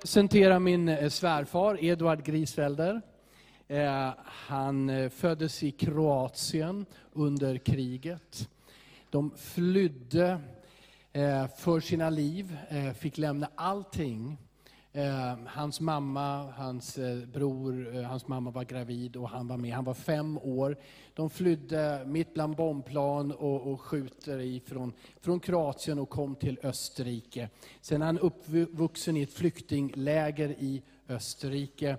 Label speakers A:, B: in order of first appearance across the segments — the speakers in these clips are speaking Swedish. A: presentera min eh, svärfar, Eduard Grisfelder. Han eh, föddes i Kroatien under kriget. De flydde eh, för sina liv, eh, fick lämna allting. Eh, Hans mamma, hans eh, bror, hans mamma var gravid och han var med. Han var fem år. De flydde mitt bland bombplan och, och skjuter ifrån, från Kroatien och kom till Österrike. Sen är han uppvuxen i ett flyktingläger i Österrike.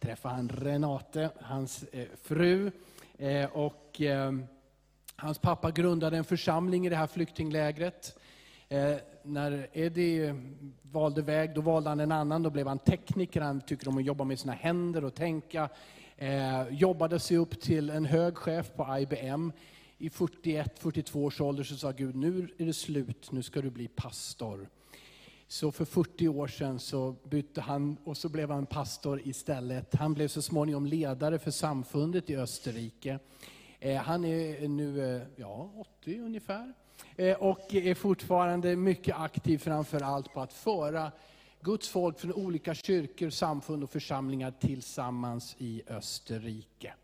A: Träffade han Renate, hans eh, fru. eh, Och hans pappa grundade en församling i det här flyktinglägret. Eh, när Eddie eh, valde väg, då valde han en annan. Då blev han tekniker. Han tycker om att jobba med sina händer och tänka. Eh, jobbade sig upp till en hög chef på IBM. I 41-42 års ålder så sa Gud, nu är det slut, nu ska du bli pastor. Så för 40 år sedan så bytte han och så blev han pastor istället. Han blev så småningom ledare för samfundet i Österrike. Eh, han är nu eh, ja, 80 ungefär Eh, och är fortfarande mycket aktiv framför allt på att föra Guds folk från olika kyrkor, samfund och församlingar tillsammans i Österrike.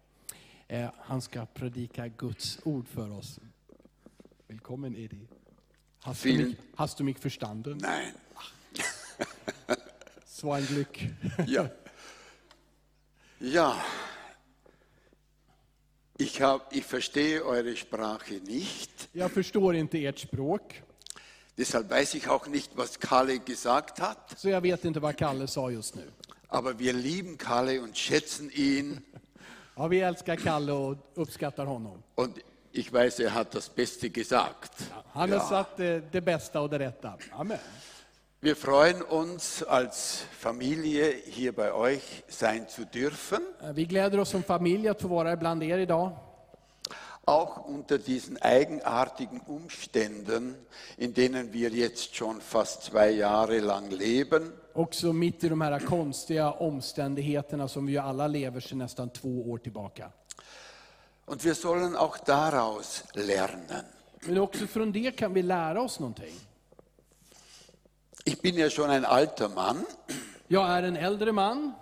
A: Eh, Han ska predika Guds ord för oss. Välkommen Edi. Hast, du, hast du mich verstanden?
B: Nein.
A: Så ein Glück.
B: ja. ja. Ich, hab, ich, verstehe eure Sprache nicht.
A: Jag förstår inte ert språk.
B: Deshalb weiß ich auch nicht, was Kalle gesagt hat.
A: Så jag vet inte vad Kalle sa just nu.
B: Aber wir lieben Kalle und schätzen ihn.
A: ja, vi älskar Kalle och uppskattar honom.
B: Und ich weiß, er hat das Beste gesagt.
A: Ja, han har ja. sagt det, det bästa och det rätta. Amen.
B: Wir freuen uns als Familie hier bei euch sein zu dürfen.
A: Eh, Vi gläder oss som familj att få vara bland er idag.
B: Auch unter diesen eigenartigen Umständen, in denen wir jetzt schon fast zwei Jahre lang leben.
A: Också mitt i de här konstiga omständigheterna som vi alla lever sedan nästan två år tillbaka.
B: Und wir sollen auch daraus lernen.
A: Men också från det kan vi lära oss någonting.
B: Ich bin ja schon ein alter Mann.
A: Jag är en äldre man.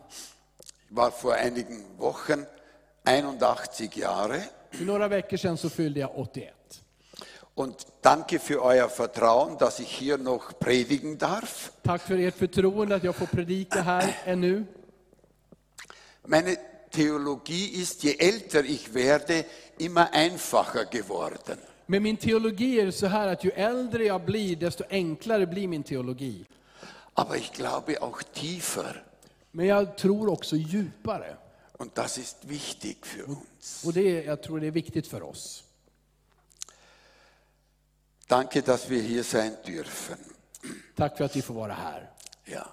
B: Ich war vor einigen Wochen 81 Jahre.
A: För några veckor sedan så fyllde jag 81.
B: Und danke für euer Vertrauen, dass ich hier noch predigen darf.
A: Tack för ert förtroende att jag får predika här ännu.
B: Meine Theologie ist, je älter ich werde, immer einfacher geworden.
A: Men min teologi är det så här att ju äldre jag blir, desto enklare blir min teologi.
B: Aber ich glaube auch tiefer.
A: Men jag tror också djupare.
B: Und das ist wichtig für uns.
A: Och det, jag tror det är viktigt för oss.
B: Danke, dass wir hier sein dürfen.
A: Tack för att vi får vara här.
B: Ja.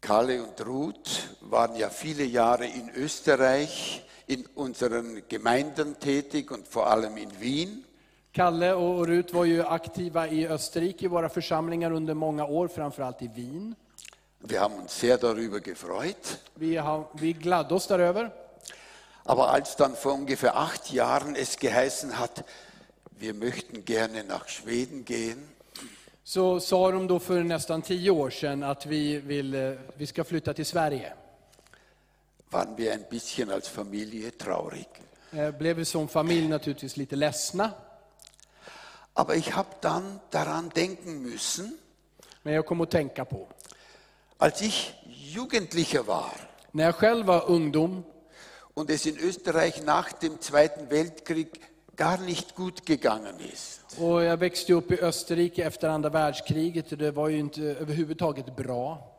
B: Kalle und Ruth waren ja viele Jahre in Österreich in unseren Gemeinden tätig und vor allem in Wien.
A: Kalle och Rut var ju aktiva i Österrike i våra församlingar under många år, framförallt i Wien.
B: Wir haben uns sehr darüber gefreut.
A: Vi, har, vi gladde oss daröver.
B: Aber als dann vor ungefähr acht Jahren es geheißen hat, wir möchten gerne nach Schweden gehen,
A: så sa de då för nästan tio år sedan att vi, vill, eh, vi ska flytta till Sverige.
B: waren wir ein bisschen als Familie traurig.
A: Eh, Blev vi som familj naturligtvis lite ledsna.
B: Aber ich habe dann daran denken müssen.
A: Men jag kom att tänka på.
B: Als ich Jugendlicher war.
A: När jag själv var ungdom.
B: Und es in Österreich nach dem Zweiten Weltkrieg gar nicht gut gegangen ist.
A: Och jag växte upp i Österrike efter andra världskriget och det var ju inte överhuvudtaget bra.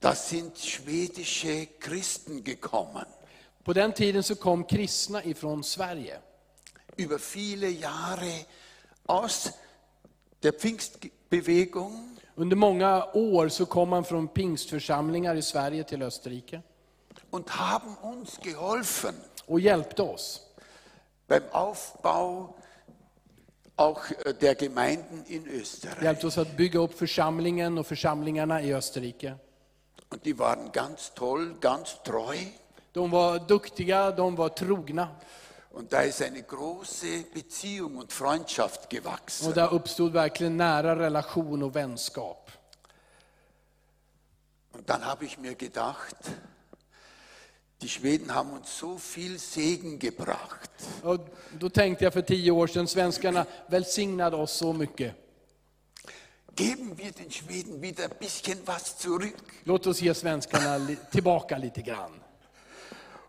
B: Da sind schwedische Christen gekommen.
A: På den tiden så kom kristna ifrån Sverige.
B: Über viele Jahre aus der Pfingstbewegung.
A: Under många år så kom man från pingstförsamlingar i Sverige till Österrike.
B: Und haben uns geholfen.
A: Och hjälpte oss.
B: Beim Aufbau auch äh, der Gemeinden in Österreich.
A: Hjälpte oss att bygga upp församlingen och församlingarna i Österrike.
B: Und die waren ganz toll, ganz treu.
A: De var duktiga, de var trogna.
B: Und da ist eine große Beziehung und Freundschaft gewachsen.
A: Och där uppstod verkligen nära relation och vänskap.
B: Und dann habe ich mir gedacht, die Schweden haben uns so viel Segen gebracht.
A: Och då tänkte jag för tio år sedan, svenskarna välsignade oss så mycket.
B: Geben wir den Schweden wieder ein bisschen was zurück.
A: Låt oss ge svenskarna li- tillbaka lite grann.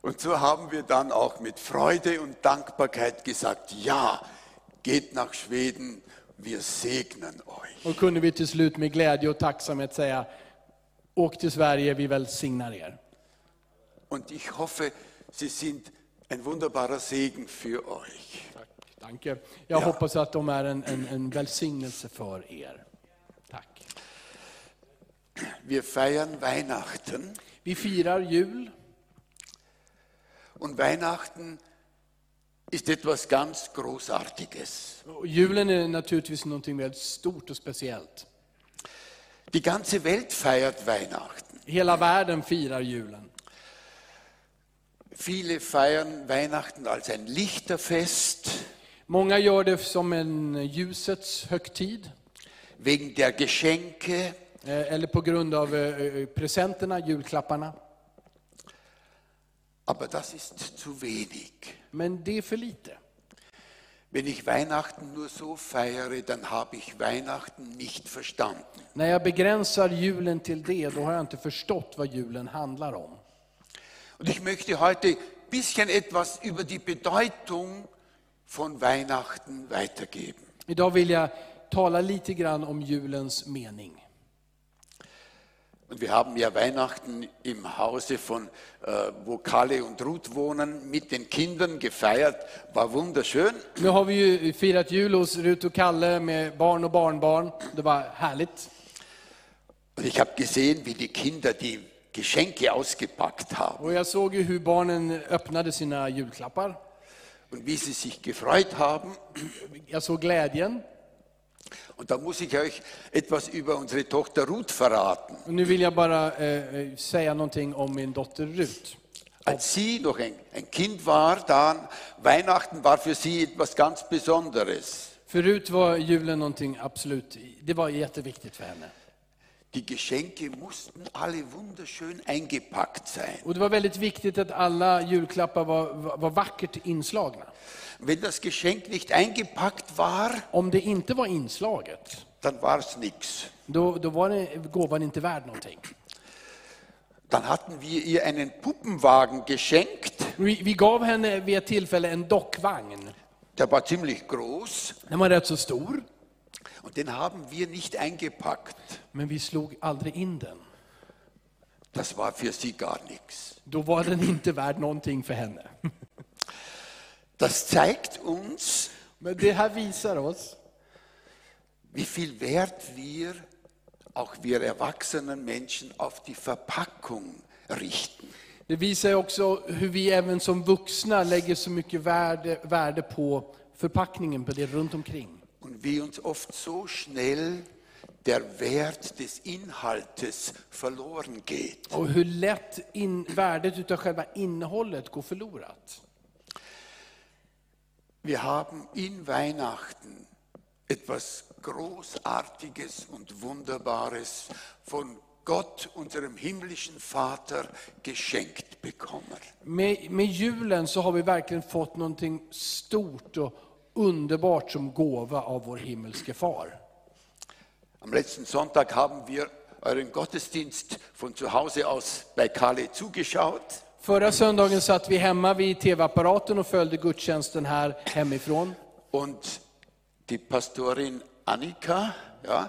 B: Und so haben wir dann auch mit Freude und Dankbarkeit gesagt, ja, geht nach Schweden, wir segnen euch.
A: Och kunde vi till slut med glädje och tacksamhet säga, åk till Sverige, vi välsignar er.
B: Und ich hoffe, Sie sind ein wunderbarer Segen für euch.
A: Tack, danke. Jag hoppas att de är en, en, en välsignelse för er. Tack.
B: Wir feiern Weihnachten
A: Vi firar jul.
B: und Weihnachten ist etwas ganz Großartiges.
A: Och julen är naturligtvis något väldigt stort och speciellt.
B: Die ganze Welt feiert Weihnachten.
A: Hela världen firar julen.
B: Viele feiern Weihnachten als ein Lichterfest
A: Många gör det som en ljusets högtid,
B: wegen der Geschenke,
A: eh, eller på grund av eh, eh, presenterna, julklapparna.
B: aber das ist zu wenig.
A: Men det är för lite.
B: Wenn ich Weihnachten nur so feiere, dann habe ich Weihnachten nicht verstanden.
A: När jag begränsar julen till det, då har jag inte förstått vad julen handlar om.
B: Und ich möchte heute ein bisschen etwas über die Bedeutung von Weihnachten weitergeben.
A: Idag vill jag tala lite grann om julens mening.
B: Und wir haben ja Weihnachten im Hause von, äh, wo Kalle und Ruth wohnen, mit den Kindern gefeiert. War wunderschön.
A: Nu har vi ju firat jul hos Rut och Kalle med barn och barnbarn. Det var härligt.
B: Und ich habe gesehen, wie die Kinder die Geschenke ausgepackt haben
A: Och jag såg ju hur barnen öppnade sina julklappar.
B: und wie sie sich gefreut haben.
A: Jag såg glädjen.
B: Und da muss ich euch etwas über unsere Tochter Ruth verraten.
A: Och nu vill jag bara eh, eh, säga någonting om min dotter Rut.
B: Als sie noch ein, ein Kind war, dann Weihnachten war für sie etwas ganz Besonderes.
A: För Rut var julen någonting absolut, det var jätteviktigt för henne.
B: Die Geschenke mussten alle wunderschön eingepackt sein.
A: Och det var väldigt viktigt att alla julklappar var, var, var vackert inslagna.
B: Wenn das Geschenk nicht eingepackt war,
A: Om det inte var inslaget,
B: dann war es nichts.
A: då, då var det, gåvan inte värd någonting.
B: Dann hatten wir ihr einen Puppenwagen geschenkt,
A: Vi, vi gav henne vid ett tillfälle en dockvagn.
B: der war ziemlich groß
A: Den var rätt så stor,
B: und den haben wir nicht eingepackt.
A: men vi slog aldrig in den.
B: Das war für sie gar nichts.
A: Då var den inte värd någonting för henne.
B: Das zeigt uns,
A: Men det här visar oss
B: wie viel Wert wir, auch wir erwachsenen Menschen, auf die Verpackung richten.
A: Det visar ju också hur vi även som vuxna lägger så mycket värde, värde på förpackningen, på det runt omkring.
B: Und wie uns oft so schnell der Wert des Inhaltes verloren geht.
A: Och hur lätt in, värdet utav själva innehållet går förlorat.
B: Wir haben in Weihnachten etwas Großartiges und Wunderbares von Gott, unserem himmlischen Vater, geschenkt bekommen.
A: Med, med julen så har vi verkligen fått någonting stort och underbart som gåva av vår himmelske far.
B: Am letzten Sonntag haben wir euren Gottesdienst von zu Hause aus bei Kale zugeschaut.
A: Förra söndagen satt vi hemma vid tv-apparaten och följde gudstjänsten här hemifrån.
B: Und die Pastorin Annika ja,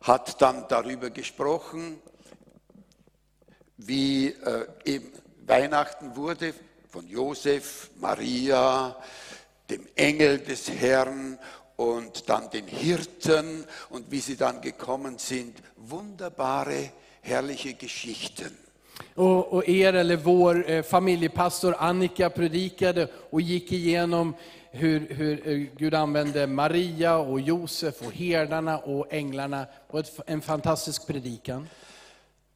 B: hat dann darüber gesprochen, wie äh, eben Weihnachten wurde von Josef, Maria, dem Engel des Herrn und dann den Hirten und wie sie dann gekommen sind. Wunderbare, herrliche Geschichten.
A: Och, och er eller vår eh, familjepastor Annika predikade och gick igenom hur, hur eh, Gud använde Maria och Josef och herdarna och änglarna. Och ett, en fantastisk predikan.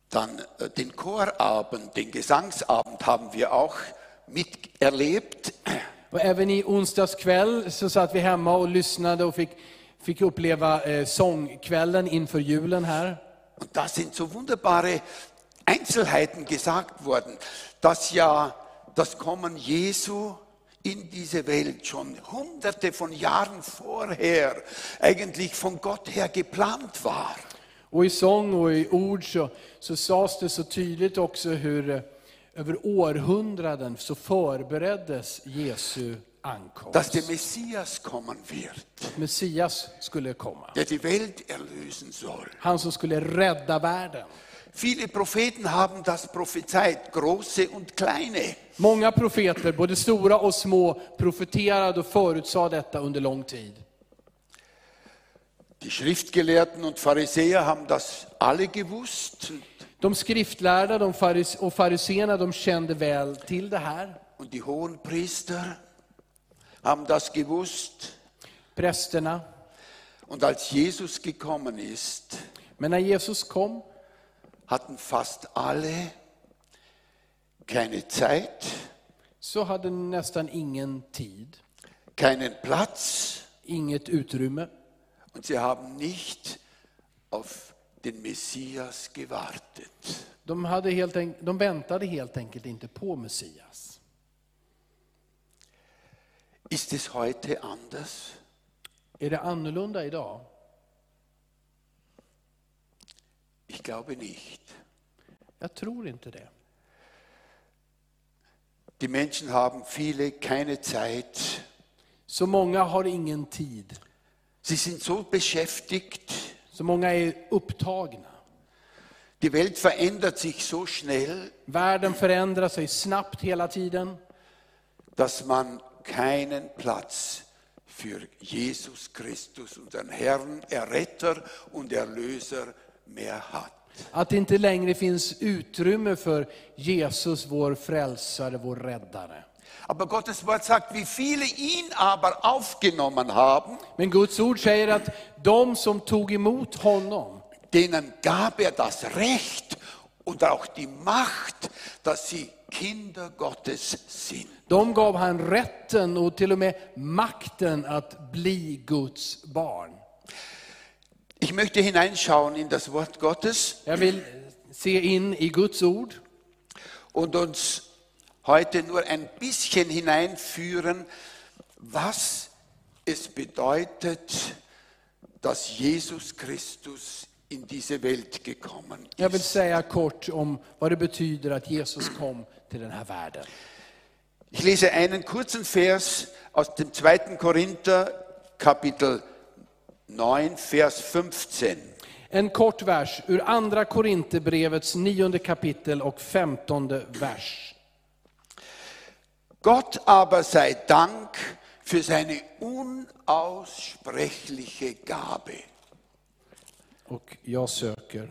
B: Dann äh, den Chorabend, den Gesangsabend haben wir auch miterlebt.
A: Och även i onsdags kväll så satt vi hemma och lyssnade och fick, fick uppleva eh, sångkvällen inför julen här.
B: Und da sind so wunderbare Einzelheiten gesagt worden, dass ja das Kommen Jesu in diese Welt schon hunderte von Jahren vorher eigentlich von Gott her geplant war.
A: Och i sång och i ord så, så sades det så tydligt också hur eh, över århundraden så förbereddes Jesu
B: dass
A: ankomst.
B: der Messias kommen wird,
A: Messias skulle komma.
B: der die Welt erlösen soll.
A: Han som skulle rädda världen.
B: Viele Propheten haben das prophezeit, große und kleine.
A: Många profeter, både stora och små, profeterade och förutsade detta under lång tid.
B: Die Schriftgelehrten und Pharisäer haben das alle gewusst
A: De skriftlärda de faris och fariséerna de kände väl till det här.
B: und die hohen Priester haben das gewusst.
A: Prästerna.
B: Und als Jesus gekommen ist,
A: Men när Jesus kom
B: hatten fast alle keine Zeit,
A: så hade nästan ingen tid,
B: keinen Platz
A: inget utrymme.
B: und sie haben nicht auf den Messias gewartet.
A: De, hade helt en, de väntade helt enkelt inte på Messias.
B: Ist es heute anders?
A: Är det annorlunda idag?
B: Ich glaube nicht.
A: Jag tror inte det.
B: Die Menschen haben viele keine Zeit.
A: Så många har ingen tid.
B: Sie sind so beschäftigt.
A: Så många är upptagna.
B: Die Welt verändert sich so schnell,
A: Världen förändrar sig snabbt hela tiden.
B: dass man keinen Platz für Jesus Christus, unseren Herrn, Erretter und Erlöser mehr hat.
A: Att det inte längre finns utrymme för Jesus, vår frälsare, vår räddare.
B: Aber Gottes Wort sagt, wie viele ihn aber aufgenommen haben,
A: Men Guds ord säger att de som tog emot honom,
B: denen gab er das Recht und auch die Macht, dass sie Kinder Gottes sind.
A: de gav han rätten och till och med makten att bli Guds barn.
B: Ich möchte hineinschauen in das Wort Gottes
A: Jag vill se in i Guds ord
B: und uns heute nur ein bisschen hineinführen, was es bedeutet, dass Jesus Christus in diese Welt gekommen
A: Jag vill
B: ist.
A: säga kort om vad det betyder att Jesus kom till den här världen.
B: Ich lese einen kurzen Vers aus dem 2. Korinther Kapitel 9, Vers 15.
A: En kort vers ur andra Korinthierbrevets nionde kapitel och femtonde vers.
B: Gott aber sei Dank für seine unaussprechliche Gabe.
A: Och jag söker.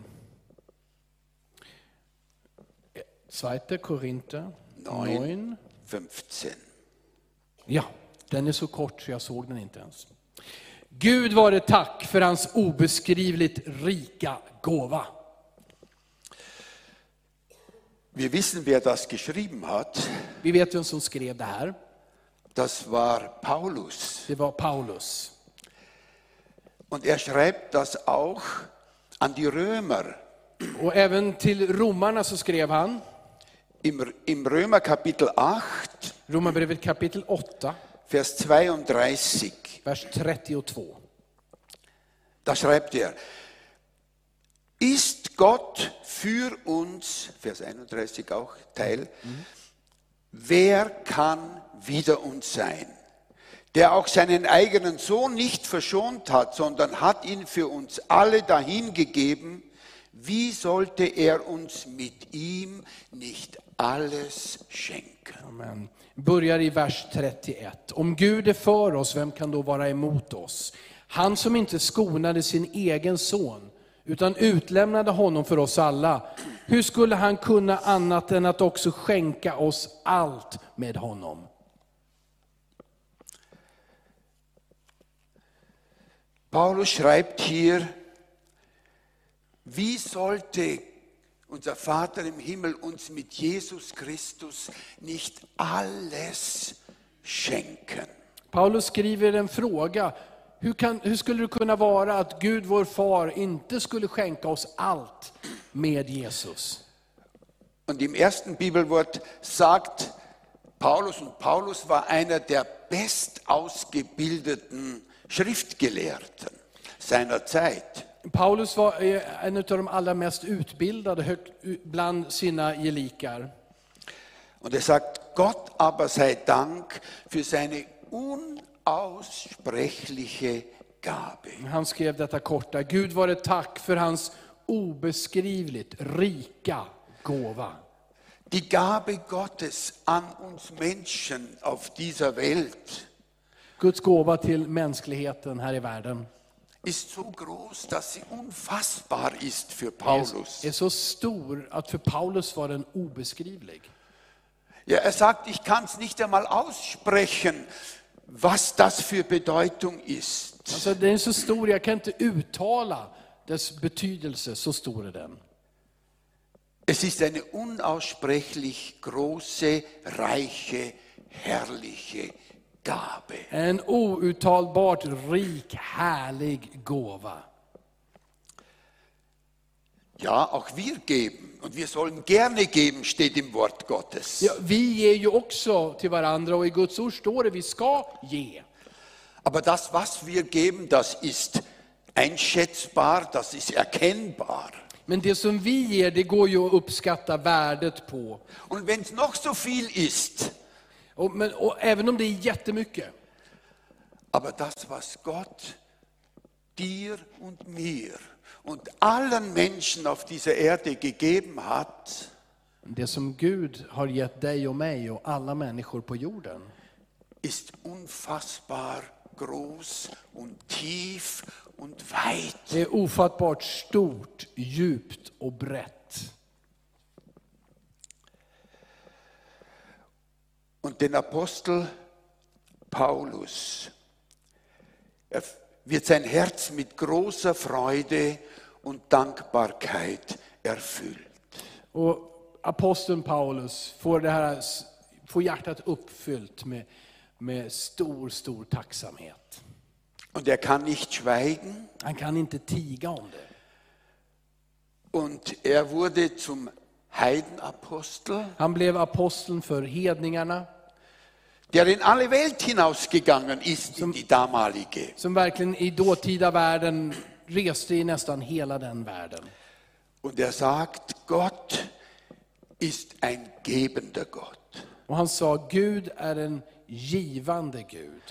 A: Zweite Korinther
B: Neun.
A: 9.
B: 15.
A: Ja, den är så kort så jag såg den inte ens. Gud var det tack för hans obeskrivligt rika gåva.
B: Wir wissen, wer das geschrieben hat.
A: Vi vet vem som skrev det här.
B: Das war Paulus.
A: Det var Paulus.
B: Und er schreibt das auch an die Römer.
A: Och även till romarna så skrev han,
B: Im, im Römer Kapitel 8,
A: Romarbrevet kapitel 8,
B: Vers 32.
A: vers 32.
B: Da schreibt er, ist Gott für uns, Vers 31 auch Teil, wer kann wider uns sein, der auch seinen eigenen Sohn nicht verschont hat, sondern hat ihn für uns alle dahingegeben, wie sollte er uns mit ihm nicht alles schenken?
A: Amen. Börjar i vers 31. Om Gud är för oss, vem kan då vara emot oss? Han som inte skonade sin egen son, utan utlämnade honom för oss alla. Hur skulle han kunna annat än att också skänka oss allt med honom?
B: Paulus schreibt hier, wie sollte unser Vater im Himmel uns mit Jesus Christus nicht alles schenken?
A: Paulus skriver en fråga. Hur, kan, hur skulle det kunna vara att Gud, vår far, inte skulle skänka oss allt med Jesus?
B: Und im ersten Bibelwort sagt Paulus, und Paulus war einer der bestausgebildeten Schriftgelehrten seiner Zeit.
A: Paulus var eh, en av de allra mest utbildade högt, u- bland sina gelikar.
B: Und er sagt, Gott aber sei Dank für seine unaussprechliche Gabe.
A: Han skrev detta korta. Gud var ett tack för hans obeskrivligt rika gåva.
B: Die Gabe Gottes an uns Menschen auf dieser Welt
A: Guds gåva till mänskligheten här i världen
B: ist so groß, dass sie unfassbar ist för Paulus.
A: är, är så stor att för Paulus var den obeskrivlig.
B: Ja, er sagt, ich kann es nicht einmal aussprechen, was das för Bedeutung ist.
A: Alltså, den är så stor, jag kan inte uttala dess betydelse, så stor är den.
B: Es ist eine unaussprechlich große, reiche, herrliche Gabe.
A: En outtalbart rik, härlig gåva.
B: Ja, auch wir geben und wir sollen gerne geben, steht im Wort Gottes.
A: Ja, vi ger ju också till varandra och i Guds ord står det vi ska ge.
B: Aber das, was wir geben, das ist einschätzbar, das ist erkennbar.
A: Men det som vi ger, det går ju att uppskatta värdet på.
B: Und wenn es noch so viel ist,
A: Och, men, och även om det är jättemycket,
B: aber das, was Gott dir und mir und allen Menschen auf dieser Erde gegeben hat,
A: det som Gud har gett dig och mig och alla människor på jorden,
B: ist unfassbar groß und tief und weit.
A: det är ofattbart stort, djupt och brett.
B: Und den Apostel Paulus, er wird sein Herz mit großer Freude und Dankbarkeit erfüllt.
A: Och aposteln Paulus får, det här, får hjärtat uppfyllt med, med stor, stor tacksamhet.
B: Und er kann nicht schweigen
A: Han kan inte tiga om det.
B: und er wurde zum Heidenapostel,
A: Han blev aposteln för hedningarna,
B: der in alle Welt hinausgegangen ist, in die damalige.
A: som verkligen i dåtida världen reste i nästan hela den världen.
B: Und er sagt, Gott ist ein gebender Gott.
A: Och han sa, Gud är en givande Gud.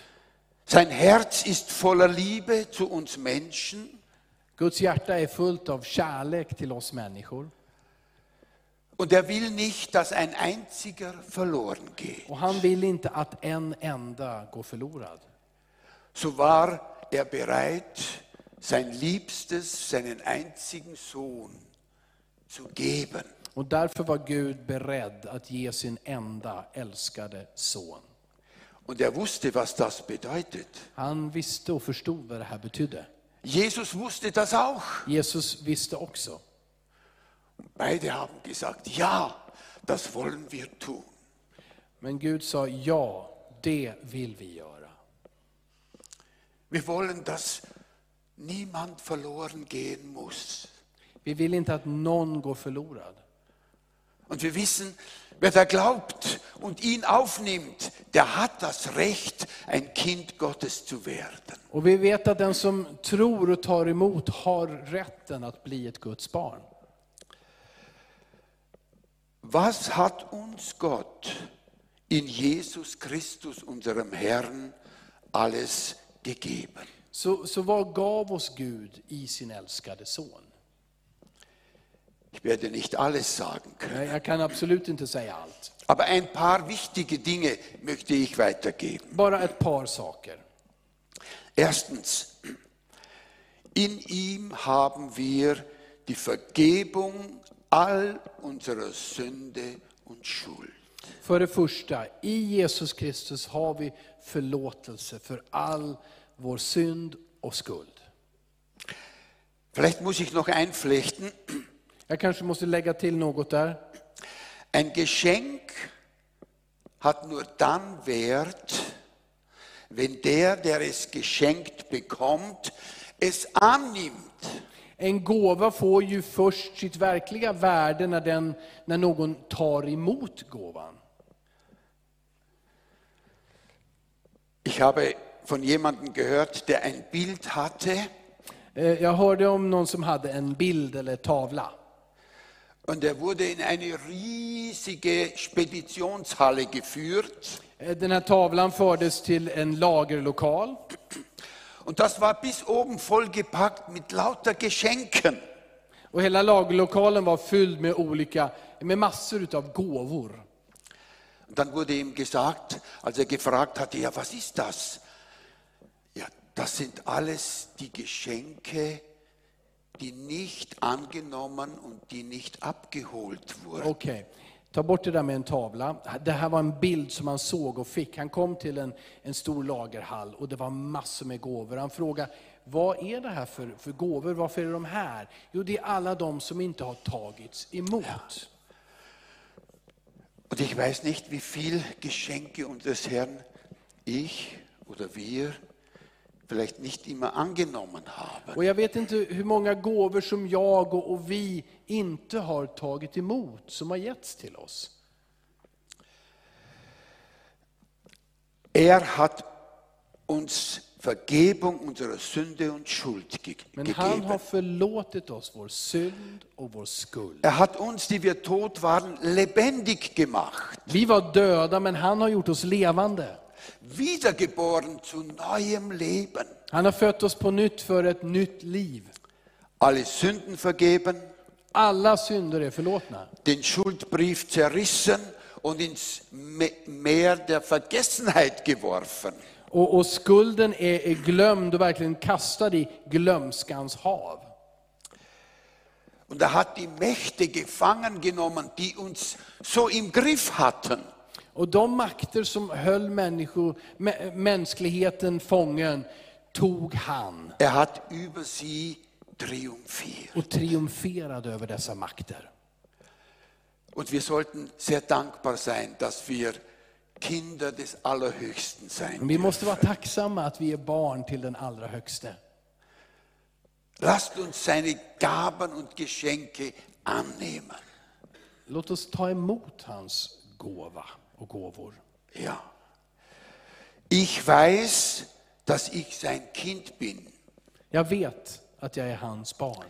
B: Sein Herz ist voller Liebe zu uns Menschen.
A: Guds hjärta är fullt av kärlek till oss människor.
B: Und er will nicht, dass ein einziger verloren geht.
A: Och han vill inte att en enda går förlorad.
B: So war er bereit, sein Liebstes, seinen einzigen Sohn zu geben.
A: Och därför var Gud beredd att ge sin enda älskade son.
B: Und er wusste, was das bedeutet.
A: Han visste och förstod vad det här betydde.
B: Jesus wusste das auch.
A: Jesus visste också.
B: Beide haben gesagt, ja, das wollen wir tun.
A: Men Gud sa, ja, det vill vi göra.
B: Wir wollen, dass niemand verloren gehen muss.
A: Vi vill inte att någon går förlorad.
B: Und wir wissen, wer da glaubt und ihn aufnimmt, der hat das Recht, ein Kind Gottes zu werden.
A: Och vi vet att den som tror och tar emot har rätten att bli ett Guds barn.
B: Was hat uns Gott in Jesus Christus, unserem Herrn, alles gegeben?
A: Så, så vad gav oss Gud i sin älskade son?
B: Ich werde nicht alles sagen können,
A: Nej, Jag kan absolut inte säga allt.
B: aber ein paar wichtige Dinge möchte ich weitergeben.
A: Bara ett par saker.
B: Erstens, in ihm haben wir die Vergebung all unserer Sünde und Schuld.
A: För det första, i Jesus Kristus har vi förlåtelse för all vår synd och skuld.
B: Vielleicht muss ich noch einflechten,
A: Jag kanske måste lägga till något där.
B: ein Geschenk hat nur dann Wert, wenn der, der es geschenkt bekommt, es annimmt.
A: En gåva får ju först sitt verkliga värde när, den, när någon tar emot gåvan.
B: Ich habe von jemandem gehört, der ein Bild hatte
A: Eh, Jag hörde om någon som hade en bild eller tavla.
B: und er wurde in eine riesige Speditionshalle geführt.
A: Eh, Den här tavlan fördes till en lagerlokal.
B: Und das war bis oben vollgepackt mit lauter Geschenken.
A: Och hela lagerlokalen var fylld med olika, med massor utav gåvor.
B: Und dann wurde ihm gesagt, als er gefragt hatte, ja, was ist das? Ja, das sind alles die Geschenke, die nicht angenommen und die nicht abgeholt wurden.
A: Okej, ta bort det där med en tavla. Det här var en bild som han såg och fick. Han kom till en, en stor lagerhall och det var massor med gåvor. Han frågade, vad är det här för, för gåvor? Varför är de här? Jo, det är alla de som inte har tagits emot.
B: Und ich weiß nicht, wie viel Geschenke unseres Herrn ich oder wir vielleicht nicht immer angenommen haben.
A: Och jag vet inte hur många gåvor som jag och, och vi inte har tagit emot, som har getts till oss.
B: Er hat uns Vergebung unserer Sünde und Schuld ge
A: Men han
B: gegeben.
A: har förlåtit oss vår synd och vår skuld.
B: Er hat uns, die wir tot waren, lebendig gemacht,
A: Vi var döda, men han har gjort oss levande.
B: wiedergeboren zu neuem Leben.
A: Han har fött oss på nytt för ett nytt liv.
B: Alle Sünden vergeben,
A: Alla synder är förlåtna.
B: den Schuldbrief zerrissen und ins Me- Meer der Vergessenheit geworfen.
A: Och, och skulden är, är glömd och verkligen kastad i glömskans hav.
B: Und er hat die Mächte gefangen genommen, die uns so im Griff hatten.
A: Och de makter som höll människor, mä- mänskligheten fången tog han
B: Er hat über sie triumphiert.
A: och triumferade över dessa makter.
B: Und wir sollten sehr dankbar sein, dass wir Kinder des Allerhöchsten sein.
A: Vi måste vara tacksamma att vi är barn till den allra högste.
B: Lasst uns seine Gaben und Geschenke annehmen.
A: Låt oss ta emot hans gåva och gåvor.
B: Ja. Ich weiß, dass ich sein Kind bin.
A: Jag vet att jag är hans barn.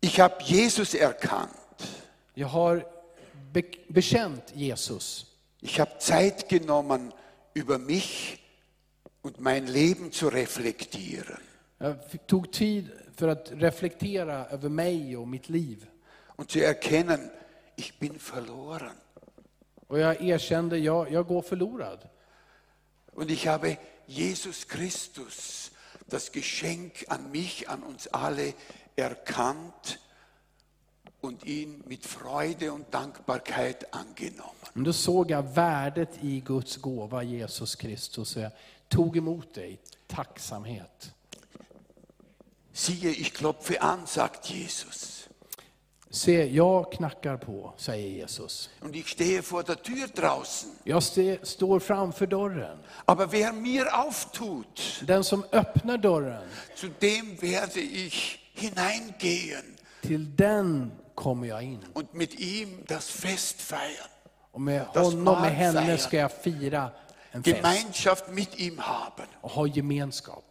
B: Ich habe Jesus erkannt.
A: Jag har be bekänt Jesus.
B: Ich habe Zeit genommen, über mich und mein Leben zu reflektieren.
A: Jag fick- tog tid för att reflektera över mig och mitt liv.
B: Und zu erkennen, ich bin verloren.
A: Och jag erkände, jag, jag går förlorad.
B: Und ich habe Jesus Christus, das Geschenk an mich, an uns alle, erkannt und ihn mit Freude und Dankbarkeit angenommen.
A: Men då såg jag värdet i Guds gåva Jesus Kristus och jag tog emot dig i tacksamhet.
B: Siehe, ich klopfe an, sagt Jesus.
A: Se, jag knackar på, säger Jesus.
B: Und ich stehe vor der Tür draußen.
A: Jag ste- står framför dörren.
B: Aber wer mir auftut,
A: Den som öppnar dörren,
B: zu dem werde ich hineingehen
A: till den kommer jag in.
B: und mit ihm das Fest feiern,
A: Och med
B: Das
A: honom, med henne
B: Mahlfeier.
A: ska jag fira en fest
B: Gemeinschaft mit ihm haben.
A: och ha gemenskap.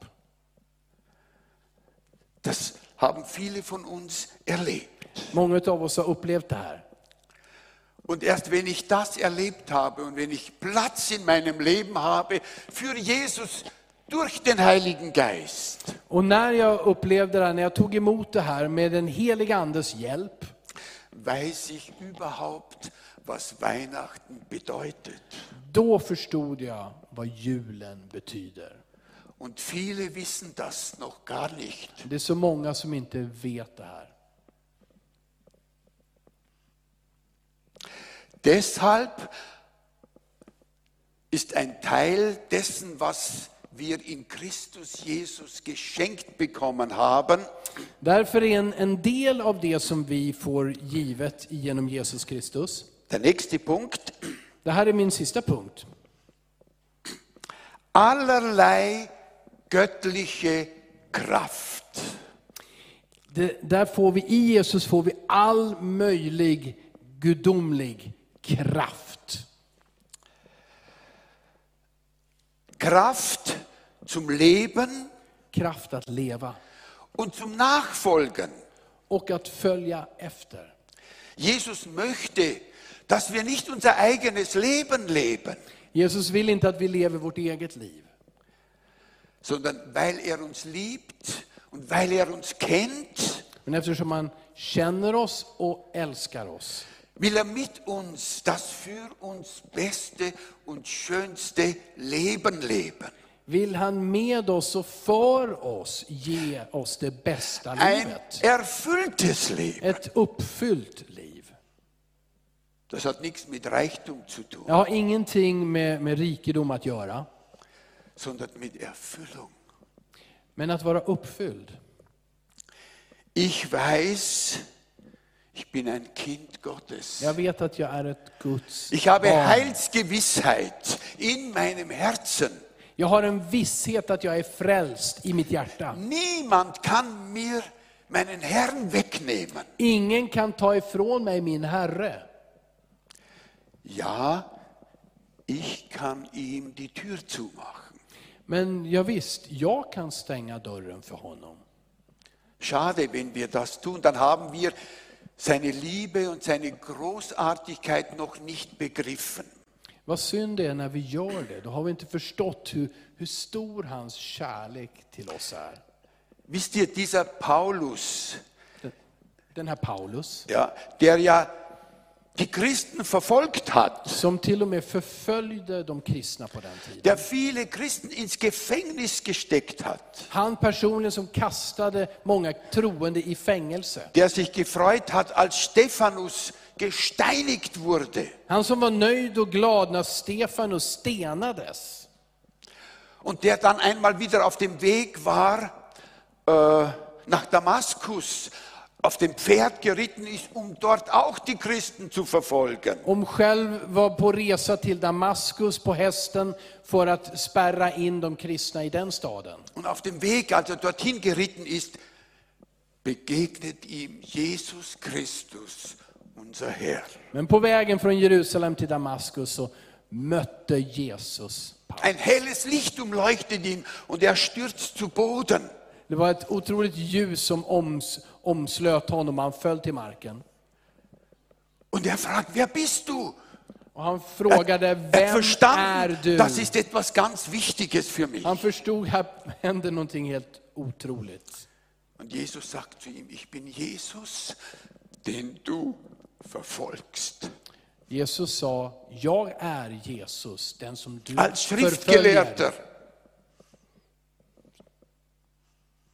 B: Das haben viele von uns erlebt.
A: Många av oss har upplevt det här.
B: Und erst wenn ich das erlebt habe und wenn ich Platz in meinem Leben habe für Jesus durch den Heiligen Geist,
A: Och när jag upplevde det här, när jag tog emot det här med den heliga andes hjälp,
B: weiß ich überhaupt, was Weihnachten bedeutet.
A: då förstod jag vad julen betyder.
B: Und viele wissen das noch gar nicht.
A: Det är så många som inte vet det här.
B: Deshalb ist ein Teil dessen, was wir in Christus Jesus geschenkt bekommen haben,
A: Därför är en, en del av det som vi får givet genom Jesus Kristus,
B: der nächste Punkt,
A: det här är min sista punkt,
B: allerlei göttliche Kraft.
A: Det, där får vi, I Jesus får vi all möjlig gudomlig kraft.
B: Kraft zum Leben
A: Kraft att leva
B: und zum Nachfolgen.
A: och att följa efter.
B: Jesus möchte, dass wir nicht unser eigenes Leben leben,
A: Jesus vill inte att vi lever vårt eget liv.
B: sondern weil er uns liebt und weil er uns kennt,
A: Men eftersom han känner oss och älskar oss
B: will er mit uns das für uns beste und schönste Leben leben.
A: vill han med oss och för oss ge oss det bästa
B: Ein
A: livet.
B: erfülltes Leben.
A: Ett uppfyllt liv.
B: Das hat nichts mit Reichtum zu tun,
A: Jag har ingenting med, med rikedom att göra,
B: sondern mit Erfüllung.
A: men att vara uppfylld.
B: Ich weiß, ich bin ein Kind Gottes.
A: Jag vet att jag är ett Guds
B: Ich habe
A: barn.
B: Heilsgewissheit in meinem Herzen.
A: Jag har en visshet att jag är frälst i mitt hjärta.
B: Niemand kann mir meinen Herrn wegnehmen.
A: Ingen kan ta ifrån mig min Herre.
B: Ja, ich kann ihm die Tür zumachen.
A: Men ja, visst, jag kan stänga dörren för honom.
B: Schade, wenn wir das tun, dann haben wir seine Liebe und seine Großartigkeit noch nicht begriffen.
A: Vad synd det är när vi gör det. Då har vi inte förstått hur, hur stor hans kärlek till oss är.
B: Wisst ihr, dieser Paulus,
A: Den här Paulus,
B: ja, der ja die Christen verfolgt hat,
A: som till och med förföljde de kristna på den tiden.
B: der viele Christen ins Gefängnis gesteckt hat,
A: Han personligen som kastade många troende i fängelse.
B: der sich gefreut hat, als Stephanus gesteinigt wurde.
A: Han som var nöjd och glad när Stefanus stenades.
B: Und der dann einmal wieder auf dem Weg war äh, nach Damaskus, auf dem Pferd geritten ist, um dort auch die Christen zu verfolgen.
A: Om själv var på resa till Damaskus på hästen för att spärra in de kristna i den staden.
B: Und auf dem Weg, als er dorthin geritten ist, begegnet ihm Jesus Christus, unser Herr.
A: Men på vägen från Jerusalem till Damaskus så mötte Jesus Paulus.
B: Ein helles Licht umleuchtet ihn und er stürzt zu Boden.
A: Det var ett otroligt ljus som oms, omslöt honom, han föll till marken.
B: Und er fragt, wer bist du?
A: Och han frågade,
B: Er hat
A: vem är
B: verstanden,
A: du?
B: das ist etwas ganz Wichtiges für mich.
A: Han förstod, här hände någonting helt otroligt.
B: Und Jesus sagt zu ihm, ich bin Jesus, den du verfolgst.
A: Jesus sa, jag är Jesus, den som du
B: Als
A: förföljer.
B: Schriftgelehrter,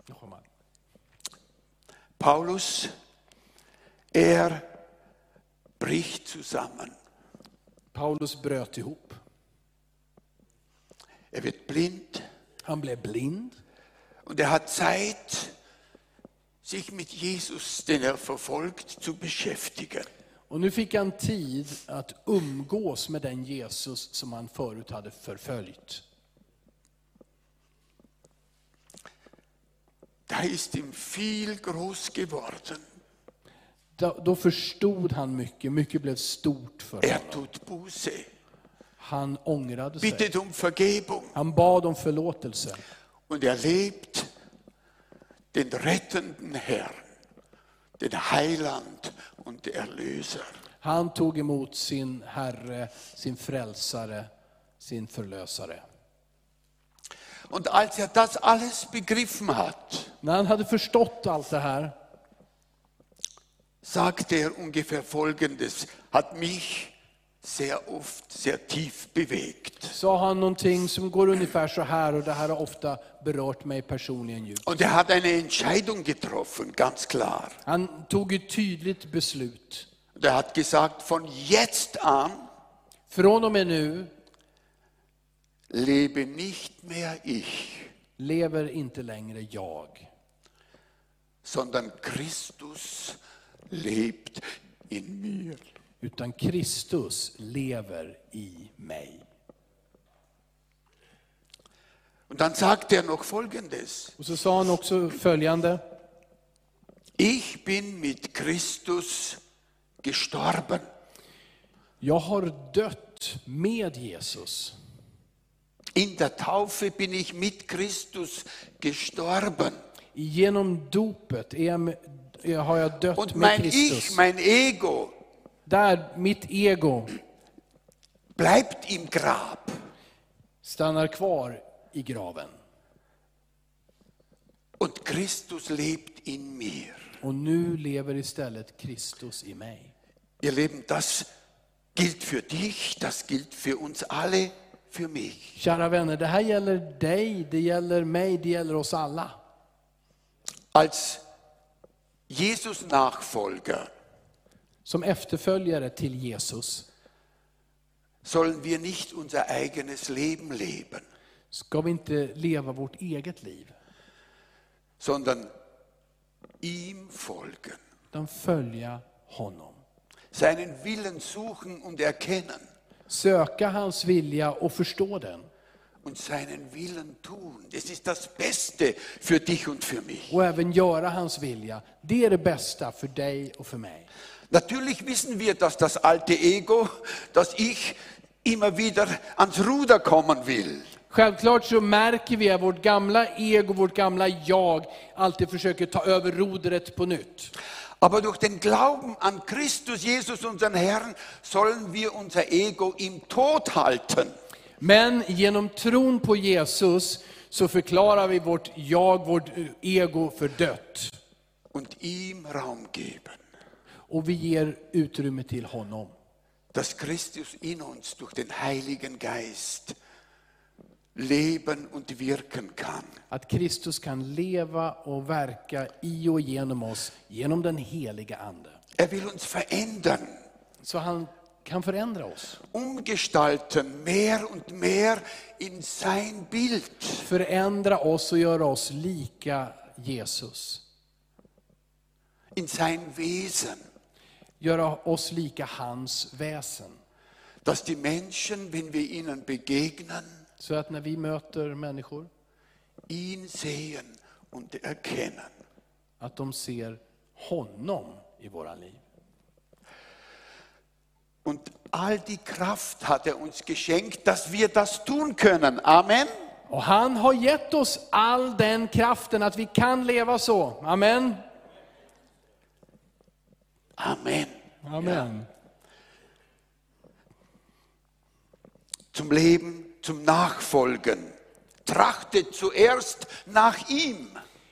A: Nochmal.
B: Paulus, er bricht zusammen.
A: Paulus bröt ihop.
B: Er wird blind
A: Han blev blind.
B: und er hat Zeit, sich mit Jesus, den er verfolgt, zu beschäftigen.
A: Och nu fick han tid att umgås med den Jesus som han förut hade förföljt.
B: Da ist ihm viel groß geworden.
A: Då, då förstod han mycket, mycket blev stort för honom.
B: Er tut Buße,
A: Han ångrade sig.
B: bittet um Vergebung.
A: Han bad om förlåtelse.
B: und erlebt den rettenden Herrn, den Heiland und Erlöser.
A: Han tog emot sin Herre, sin frälsare, sin förlösare.
B: Und als er das alles begriffen hat,
A: När han hade förstått allt det här
B: sagte er ungefähr Folgendes, hat mich sehr oft sehr tief bewegt.
A: sa han någonting som går ungefär så här och det här har ofta berört mig personligen djupt.
B: Und er hat eine Entscheidung getroffen, ganz klar.
A: Han tog ett tydligt beslut.
B: Und er hat gesagt, von jetzt an
A: Från och med nu
B: lebe nicht mehr ich,
A: lever inte längre jag,
B: sondern Christus lebt in mir.
A: utan Kristus lever i mig.
B: Und dann sagt er noch Folgendes.
A: Och så sa han också följande.
B: Ich bin mit Christus gestorben.
A: Jag har dött med Jesus.
B: In der Taufe bin ich mit Christus gestorben.
A: Genom dopet är jag med- eh, har jag dött
B: Und
A: med
B: mein
A: Kristus.
B: Ich, mein Ego
A: Där, mitt ego,
B: bleibt im Grab.
A: stannar kvar i graven.
B: Und Christus lebt in mir.
A: Och nu lever istället Kristus i mig.
B: Ihr Leben, das gilt für dich, das gilt für uns alle, für mich.
A: Kära vänner, det här gäller dig, det gäller mig, det gäller oss alla.
B: Als Jesus-Nachfolger
A: Som efterföljare till Jesus
B: sollen wir nicht unser eigenes Leben leben,
A: ska vi inte leva vårt eget liv,
B: sondern ihm folgen,
A: utan följa honom.
B: seinen Willen suchen und erkennen
A: Söka hans vilja och förstå den.
B: und seinen Willen tun. Das ist das Beste för dich und für mich.
A: Och även göra hans vilja. Det är det bästa för dig och för mig.
B: Natürlich wissen wir, dass das alte Ego, dass ich immer wieder ans Ruder kommen will.
A: Självklart så märker vi att vårt gamla ego, vårt gamla jag, alltid försöker ta över rodret på nytt.
B: Aber durch den Glauben an Christus Jesus, unseren Herrn, sollen wir unser Ego im Tod halten.
A: Men genom tron på Jesus så förklarar vi vårt jag, vårt ego för dött.
B: und ihm Raum geben,
A: Och vi ger utrymme till honom.
B: dass Christus in uns durch den Heiligen Geist leben und wirken kann.
A: Att Kristus kan leva och verka i och genom oss, genom den heliga Ande.
B: Er will uns verändern,
A: Så han kan förändra oss.
B: umgestalten, mehr und mehr in sein Bild.
A: Förändra oss och göra oss lika Jesus.
B: in sein Wesen,
A: Göra oss lika hans väsen.
B: dass die Menschen, wenn wir ihnen begegnen,
A: Så att när vi möter människor,
B: ihn sehen und erkennen.
A: att de ser honom i våra liv.
B: Und all die Kraft hat er uns geschenkt, dass wir das tun können. Amen.
A: Och han har gett oss all den kraften att vi kan leva så. Amen.
B: Amen.
A: Amen.
B: Zum Leben, zum Nachfolgen. Trachtet zuerst nach ihm.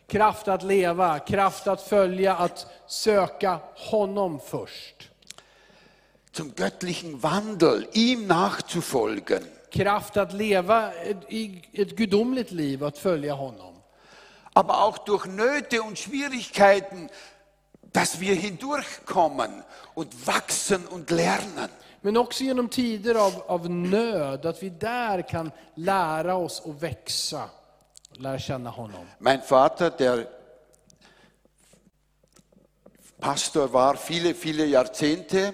A: Kraft att leva, kraft att följa, att söka honom först.
B: Zum göttlichen Wandel, ihm nachzufolgen.
A: Kraft att leva ett, i ett gudomligt liv, att följa honom.
B: Aber auch durch Nöte und Schwierigkeiten, dass wir hindurchkommen und wachsen und lernen.
A: Men också genom tider av, av nöd, att vi där kan lära oss och växa. Lära känna honom.
B: Mein Vater, der Pastor war viele, viele Jahrzehnte,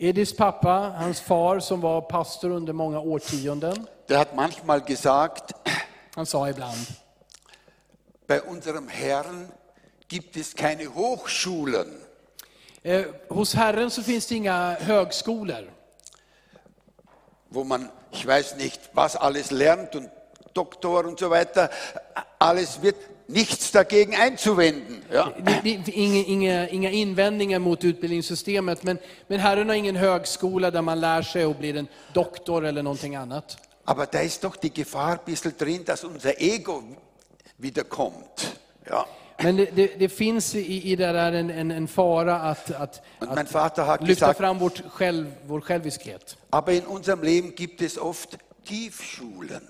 A: Edis pappa, hans far som var pastor under många årtionden,
B: der hat manchmal gesagt,
A: han sa ibland,
B: bei unserem Herrn gibt es keine Hochschulen.
A: eh, hos Herren så finns det inga högskolor.
B: wo man, ich weiß nicht, was alles lernt und Doktor und so weiter, alles wird nichts dagegen einzuwenden. Ja.
A: Det- det- Inga, inga, inga invändningar mot utbildningssystemet, men, men Herren har ingen högskola där man lär sig och blir en doktor eller någonting annat.
B: Aber da ist doch die Gefahr ein bisschen drin, dass unser Ego wieder kommt. Ja.
A: Men det, det, det finns i, i det där en, en, en fara att, att,
B: Und
A: att
B: mein Vater hat
A: lyfta
B: gesagt,
A: fram vårt själv, vår själviskhet.
B: aber in unserem Leben gibt es oft Tiefschulen.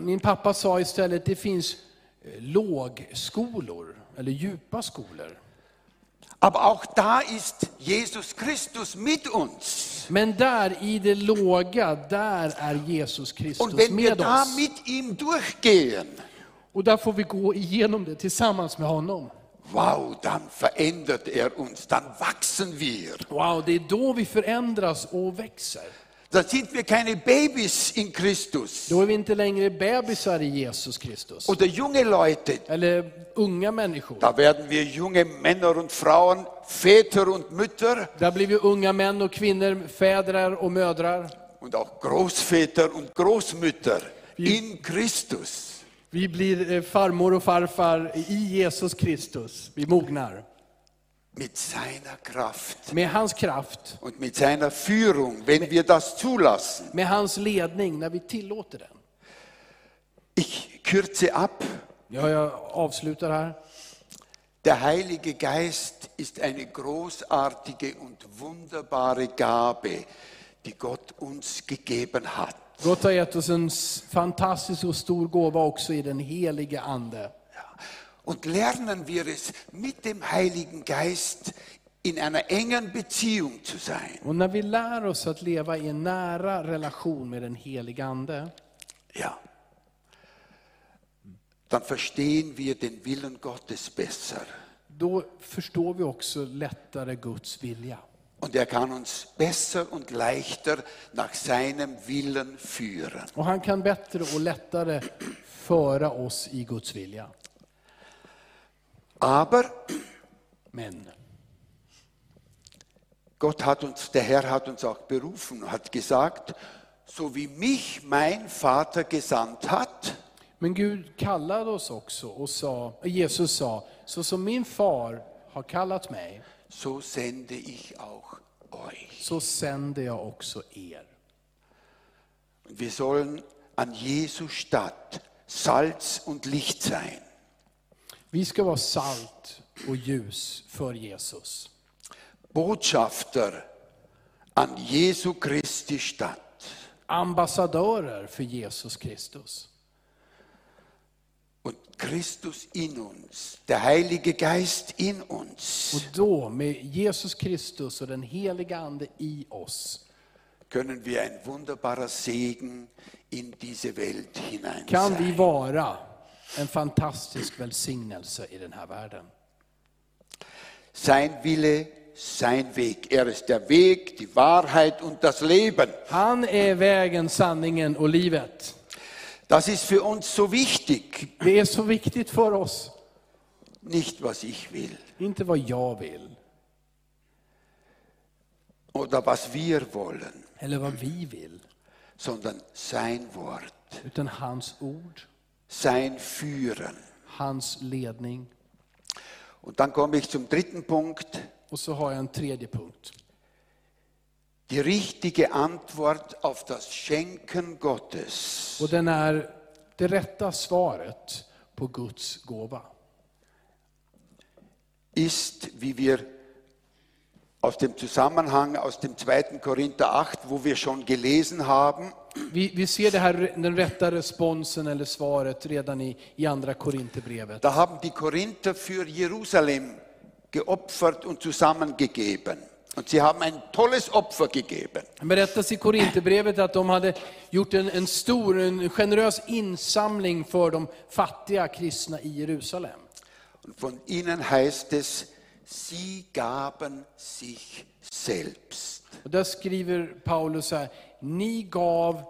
A: Min pappa sa istället, det finns eh, lågskolor, eller djupa skolor.
B: Aber auch da ist Jesus Christus mit uns.
A: Men där i det låga, där är Jesus Kristus
B: Und wenn wir
A: med
B: da
A: oss.
B: mit ihm durchgehen,
A: Och där får vi gå igenom det tillsammans med honom.
B: wow, dann verändert er uns, dann wachsen wir.
A: Wow, det är då vi förändras och växer.
B: dann sind wir keine Babys in Christus
A: Då är vi inte längre bebisar i Jesus Kristus.
B: oder junge Leute.
A: Eller unga människor.
B: Da werden wir junge Männer und Frauen, Väter und Mütter
A: Där blir vi unga män och kvinnor, fädrar och mödrar.
B: und auch Großväter und Großmütter in Christus.
A: Vi blir eh, farmor och farfar i Jesus Kristus. Vi mognar.
B: Mit seiner Kraft
A: Med hans kraft,
B: und mit seiner Führung, wenn wir das zulassen.
A: med hans ledning, när vi tillåter den.
B: Ich kürze ab.
A: Ja, jag avslutar här.
B: Der Heilige Geist ist eine großartige und wunderbare Gabe, die Gott uns gegeben hat.
A: Gott har gett oss en s- fantastisk och stor gåva också i den helige Ande.
B: Und lernen wir es, mit dem Heiligen Geist in einer engen Beziehung zu sein.
A: Och när vi lär oss att leva i en nära relation med den helige Ande,
B: Ja. Dann verstehen wir den Willen Gottes besser.
A: då förstår vi också lättare Guds vilja.
B: Und er kann uns besser und leichter nach seinem Willen führen.
A: Och han kan bättre och lättare föra oss i Guds vilja.
B: Aber
A: Men
B: Gott hat uns, der Herr hat uns auch berufen, hat gesagt, so wie mich mein Vater gesandt hat,
A: Men Gud kallade oss också och sa, Jesus sa, så som min far har kallat mig,
B: so sende ich auch euch.
A: så sänder jag också er.
B: Und wir sollen an Jesu Stadt Salz und Licht sein.
A: Vi ska vara salt och ljus för Jesus.
B: Botschafter an Jesu Christi Stadt.
A: Ambassadörer för Jesus Kristus.
B: Und Christus in uns, der Heilige Geist in uns,
A: Och då, med Jesus Kristus och den heliga Ande i oss,
B: können wir ein wunderbarer Segen in diese Welt hinein
A: kan
B: sein.
A: vi vara en fantastisk välsignelse i den här världen.
B: Sein Wille, sein Weg. Er ist der Weg, die Wahrheit und das Leben.
A: Han är vägen, sanningen och livet.
B: Das ist für uns so wichtig.
A: Det är så viktigt för oss.
B: Nicht, was ich will
A: Inte vad jag vill,
B: oder was wir wollen,
A: eller vad vi vill,
B: sondern sein Wort,
A: utan hans ord,
B: sein Führen.
A: hans ledning.
B: Und dann komme ich zum dritten Punkt.
A: Och så har jag en tredje punkt.
B: Die richtige Antwort auf das Schenken Gottes
A: Och den är det rätta svaret på Guds gåva.
B: ist, wie wir aus dem Zusammenhang aus dem 2. Korinther 8, wo wir schon gelesen haben,
A: Vi, vi ser det här, den rätta responsen eller svaret redan i, i andra Korinthierbrevet.
B: da haben die Korinther für Jerusalem geopfert und zusammengegeben. Und sie haben ein tolles Opfer gegeben.
A: Det berättas i Korinthierbrevet att de hade gjort en, en stor, en generös insamling för de fattiga kristna i Jerusalem.
B: Und von ihnen heißt es, sie gaben sich selbst.
A: Och där skriver Paulus så här, ni gav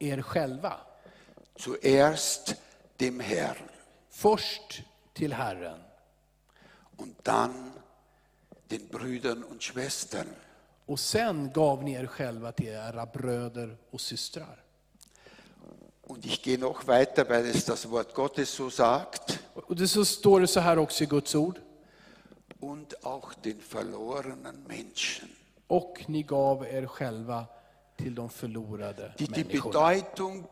A: er själva.
B: Zuerst dem Herrn
A: Först till Herren
B: und dann den Brüdern und Schwestern.
A: och sen gav ni er själva till era bröder och systrar.
B: Und ich gehe noch weiter, weil es das Wort Gottes so sagt.
A: Och det så står det så här också i Guds ord.
B: und auch den verlorenen Menschen,
A: Och ni gav er själva till de förlorade
B: die die
A: människorna.
B: Bedeutung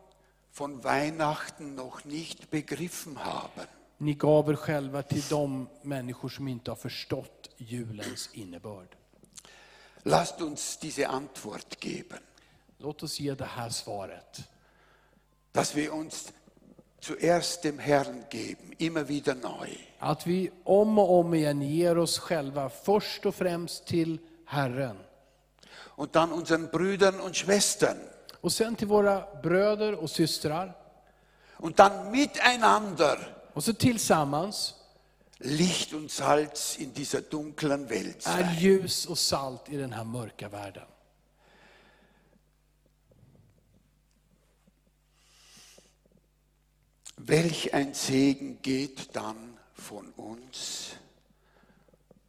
B: von Weihnachten nog nicht begriffen haben.
A: Ni gav er själva till de människor som inte har förstått julens innebörd.
B: Lasst uns diese Antwort geben,
A: Låt oss ge det här svaret.
B: dass wir uns zuerst dem Herrn geben, immer wieder neu.
A: Att vi om och om igen ger oss själva först och främst till Herren.
B: Und dann unseren Brüdern und Schwestern.
A: Och sen till våra bröder och systrar.
B: Und dann miteinander
A: Och så tillsammans
B: Licht und Salz in dieser dunklen Welt. sein.
A: är ljus och salt i den här mörka världen.
B: Welch ein Segen geht dann von uns,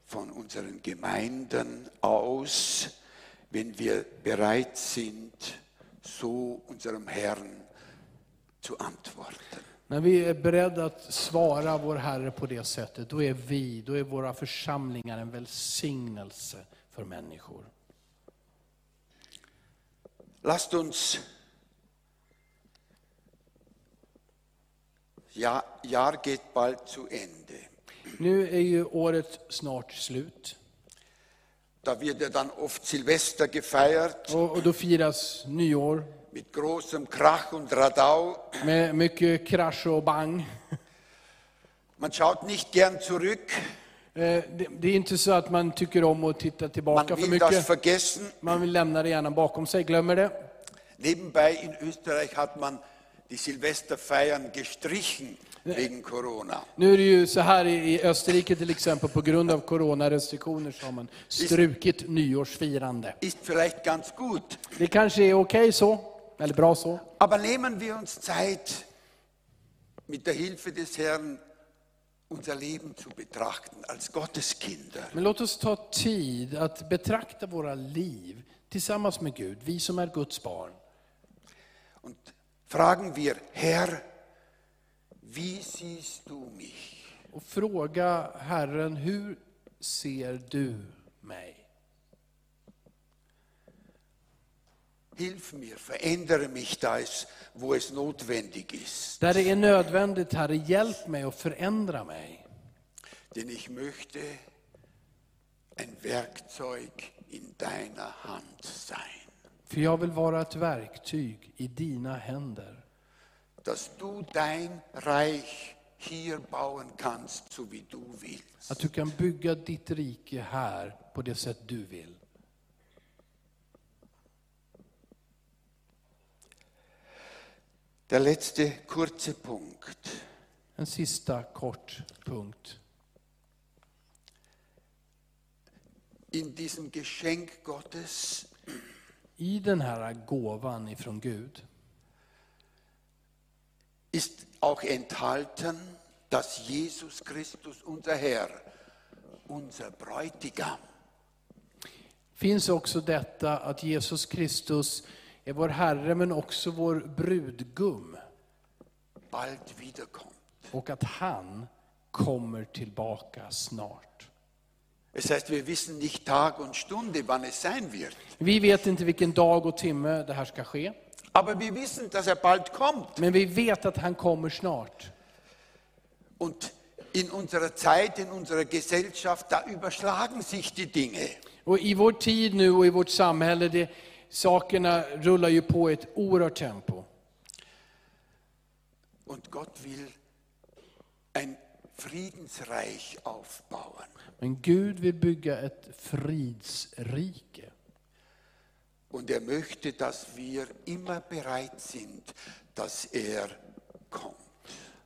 B: von unseren Gemeinden aus, wenn wir bereit sind, so unserem Herrn zu antworten.
A: När vi är beredda att svara vår Herre på det sättet, då är vi, då är våra församlingar en välsignelse för människor.
B: Lasst uns ja, Jahr geht bald zu Ende.
A: Nu är ju året snart slut
B: Da wird ja dann oft Silvester gefeiert
A: och, och då firas nyår
B: mit großem Krach und Radau.
A: med mycket krasch och bang.
B: Man schaut nicht gern zurück,
A: Eh, Det, det är inte så att man tycker om att titta
B: man
A: tillbaka för
B: will das
A: mycket.
B: vergessen.
A: Man vill lämna det gärna bakom sig, glömmer det.
B: Nebenbei in Österreich hat man die Silvesterfeiern gestrichen wegen Corona.
A: Nu är det ju så här i i Österrike till exempel, på grund av coronarestriktioner så har man strukit nyårsfirande.
B: Ist vielleicht ganz gut,
A: Det kanske är okej så, eller bra så.
B: aber nehmen wir uns Zeit, mit der Hilfe des Herrn unser Leben zu betrachten als Gotteskinder.
A: Men låt oss ta tid att betrakta våra liv tillsammans med Gud, vi som är Guds barn.
B: Und fragen wir, Herr, wie siehst du mich?
A: Och fråga Herren, hur ser du mig?
B: Hilf mir, verändere mich da, es- wo es notwendig ist.
A: Där det är nödvändigt, Herre, hjälp mig och förändra mig.
B: Denn ich möchte ein Werkzeug in deiner Hand sein,
A: För jag vill vara ett verktyg i dina händer.
B: dass du dein Reich hier bauen kannst, so wie du willst.
A: Att du kan bygga ditt rike här på det sätt du vill.
B: Der letzte kurze Punkt.
A: En sista kort punkt.
B: In diesem Geschenk Gottes
A: I den här gåvan ifrån Gud
B: ist auch enthalten, dass Jesus Christus, unser Herr, unser Bräutigam,
A: finns också detta att Jesus Kristus är vår Herre men också vår brudgum
B: bald wiederkommt.
A: och att han kommer tillbaka snart.
B: Es heißt, wir wissen nicht Tag und Stunde, wann es sein wird.
A: Vi vet inte vilken dag och timme det här ska ske,
B: Aber wir wissen, dass er bald kommt.
A: men vi vet att han kommer snart.
B: Und in unserer Zeit, in unserer Gesellschaft, da überschlagen sich die Dinge.
A: Och i vår tid nu och i vårt samhälle, det, sakerna rullar ju på i ett oerhört tempo.
B: Und Gott will ein Friedensreich aufbauen.
A: Men Gud vill bygga ett fridsrike.
B: Und er möchte, dass wir immer bereit sind, dass er kommt.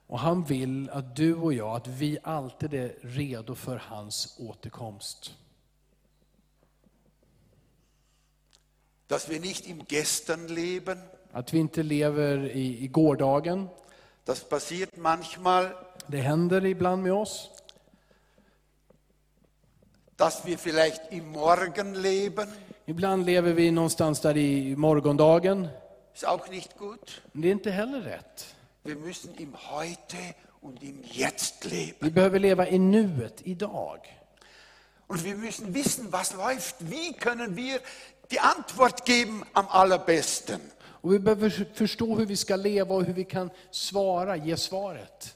A: Och han vill att du och jag, att vi alltid är redo för hans återkomst.
B: Dass wir nicht im Gestern leben,
A: Att vi inte lever i, i gårdagen.
B: das passiert manchmal,
A: Det händer ibland med oss.
B: dass wir vielleicht im Morgen leben,
A: Ibland lever vi någonstans där i morgondagen.
B: ist auch nicht gut.
A: Men det är inte heller rätt.
B: Wir müssen im Heute und im Jetzt leben.
A: Vi behöver leva i nuet, idag.
B: Und wir müssen wissen, was läuft. Wie können wir die Antwort geben am allerbesten?
A: Och vi behöver förstå hur vi ska leva och hur vi kan svara, ge svaret.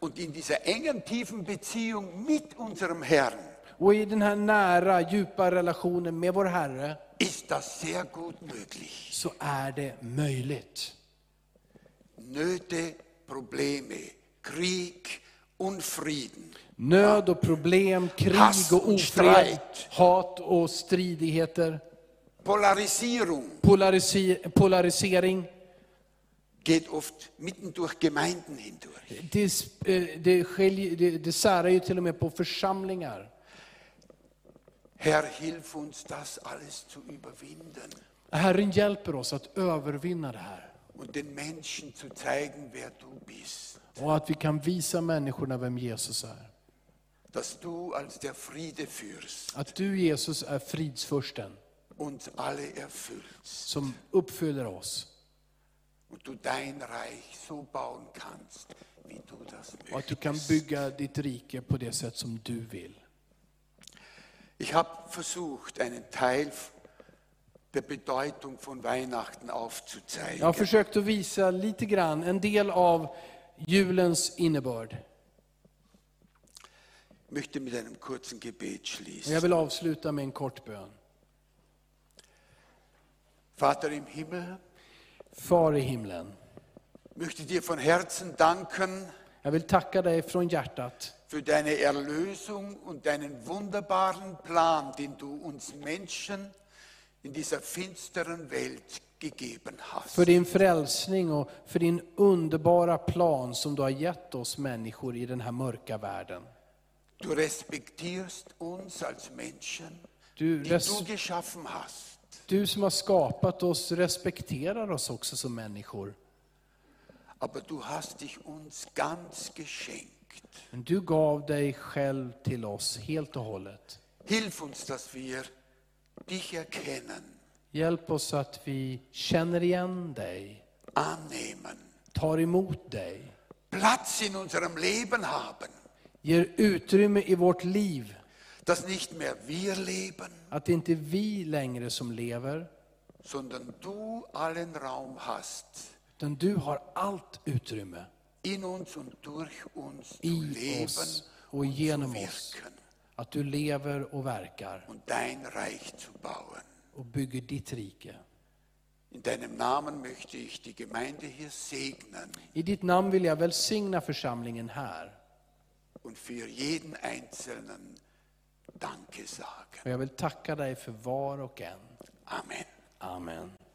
B: Und in dieser engen, tiefen Beziehung mit unserem Herrn
A: Och i den här nära, djupa relationen med vår Herre
B: ist das sehr gut möglich.
A: så är det möjligt.
B: Nöte, Probleme, Krieg, Unfrieden.
A: Nöd och problem,
B: Hass
A: krig
B: och
A: och ofred,
B: strejk.
A: hat och stridigheter,
B: Polarisierung
A: polariser polarisering.
B: geht oft mitten durch Gemeinden hindurch.
A: Det, sp- eh, det, skiljer, det, det särar ju till och med på församlingar.
B: Herr, hilf uns, das alles zu überwinden
A: Herren hjälper oss att övervinna det här.
B: und den Menschen zu zeigen, wer du bist.
A: Och att vi kan visa människorna vem Jesus är.
B: Dass du als der Friedefürst
A: Att du Jesus är fridsfursten
B: uns alle erfüllst
A: som uppfyller oss.
B: und du dein Reich so bauen kannst, wie du das
A: Och att Oh, du
B: möchtest.
A: kan bygga ditt rike på det sätt som du vill.
B: Ich habe versucht, einen Teil der Bedeutung von Weihnachten aufzuzeigen.
A: Jag har försökt att visa lite grann, en del av julens innebörd.
B: Ich möchte mit einem kurzen
A: Och
B: Gebet
A: jag
B: schließen.
A: vill avsluta med en kort bön.
B: Vater im Himmel,
A: Far i himlen,
B: möchte dir von Herzen danken
A: jag vill tacka dig från hjärtat
B: für deine Erlösung und deinen wunderbaren Plan, den du uns Menschen in dieser finsteren Welt gegeben hast.
A: för din frälsning och för din underbara plan som du har gett oss människor i den här mörka världen.
B: Du respektierst uns als Menschen,
A: Du,
B: die
A: res-
B: du geschaffen hast.
A: du som har skapat oss respekterar oss också som människor.
B: Aber du hast dich uns ganz geschenkt.
A: Men du gav dig själv till oss helt och hållet.
B: Hilf uns, dass wir dich erkennen,
A: Hjälp oss att vi känner igen dig,
B: annehmen,
A: tar emot dig,
B: Platz in unserem Leben haben,
A: ger utrymme i vårt liv
B: dass nicht mehr wir leben,
A: att det inte är vi längre som lever,
B: sondern du allen Raum hast,
A: utan du har allt utrymme
B: in uns und durch uns zu
A: i
B: leben
A: oss och genom oss.
B: wirken
A: Att du lever och verkar
B: und dein Reich zu bauen.
A: och bygger ditt rike.
B: In deinem Namen möchte ich die Gemeinde hier segnen
A: I ditt namn vill jag välsigna församlingen här.
B: und für jeden Einzelnen Danke sagen.
A: Och jag vill tacka dig för var och en.
B: Amen.
A: Amen.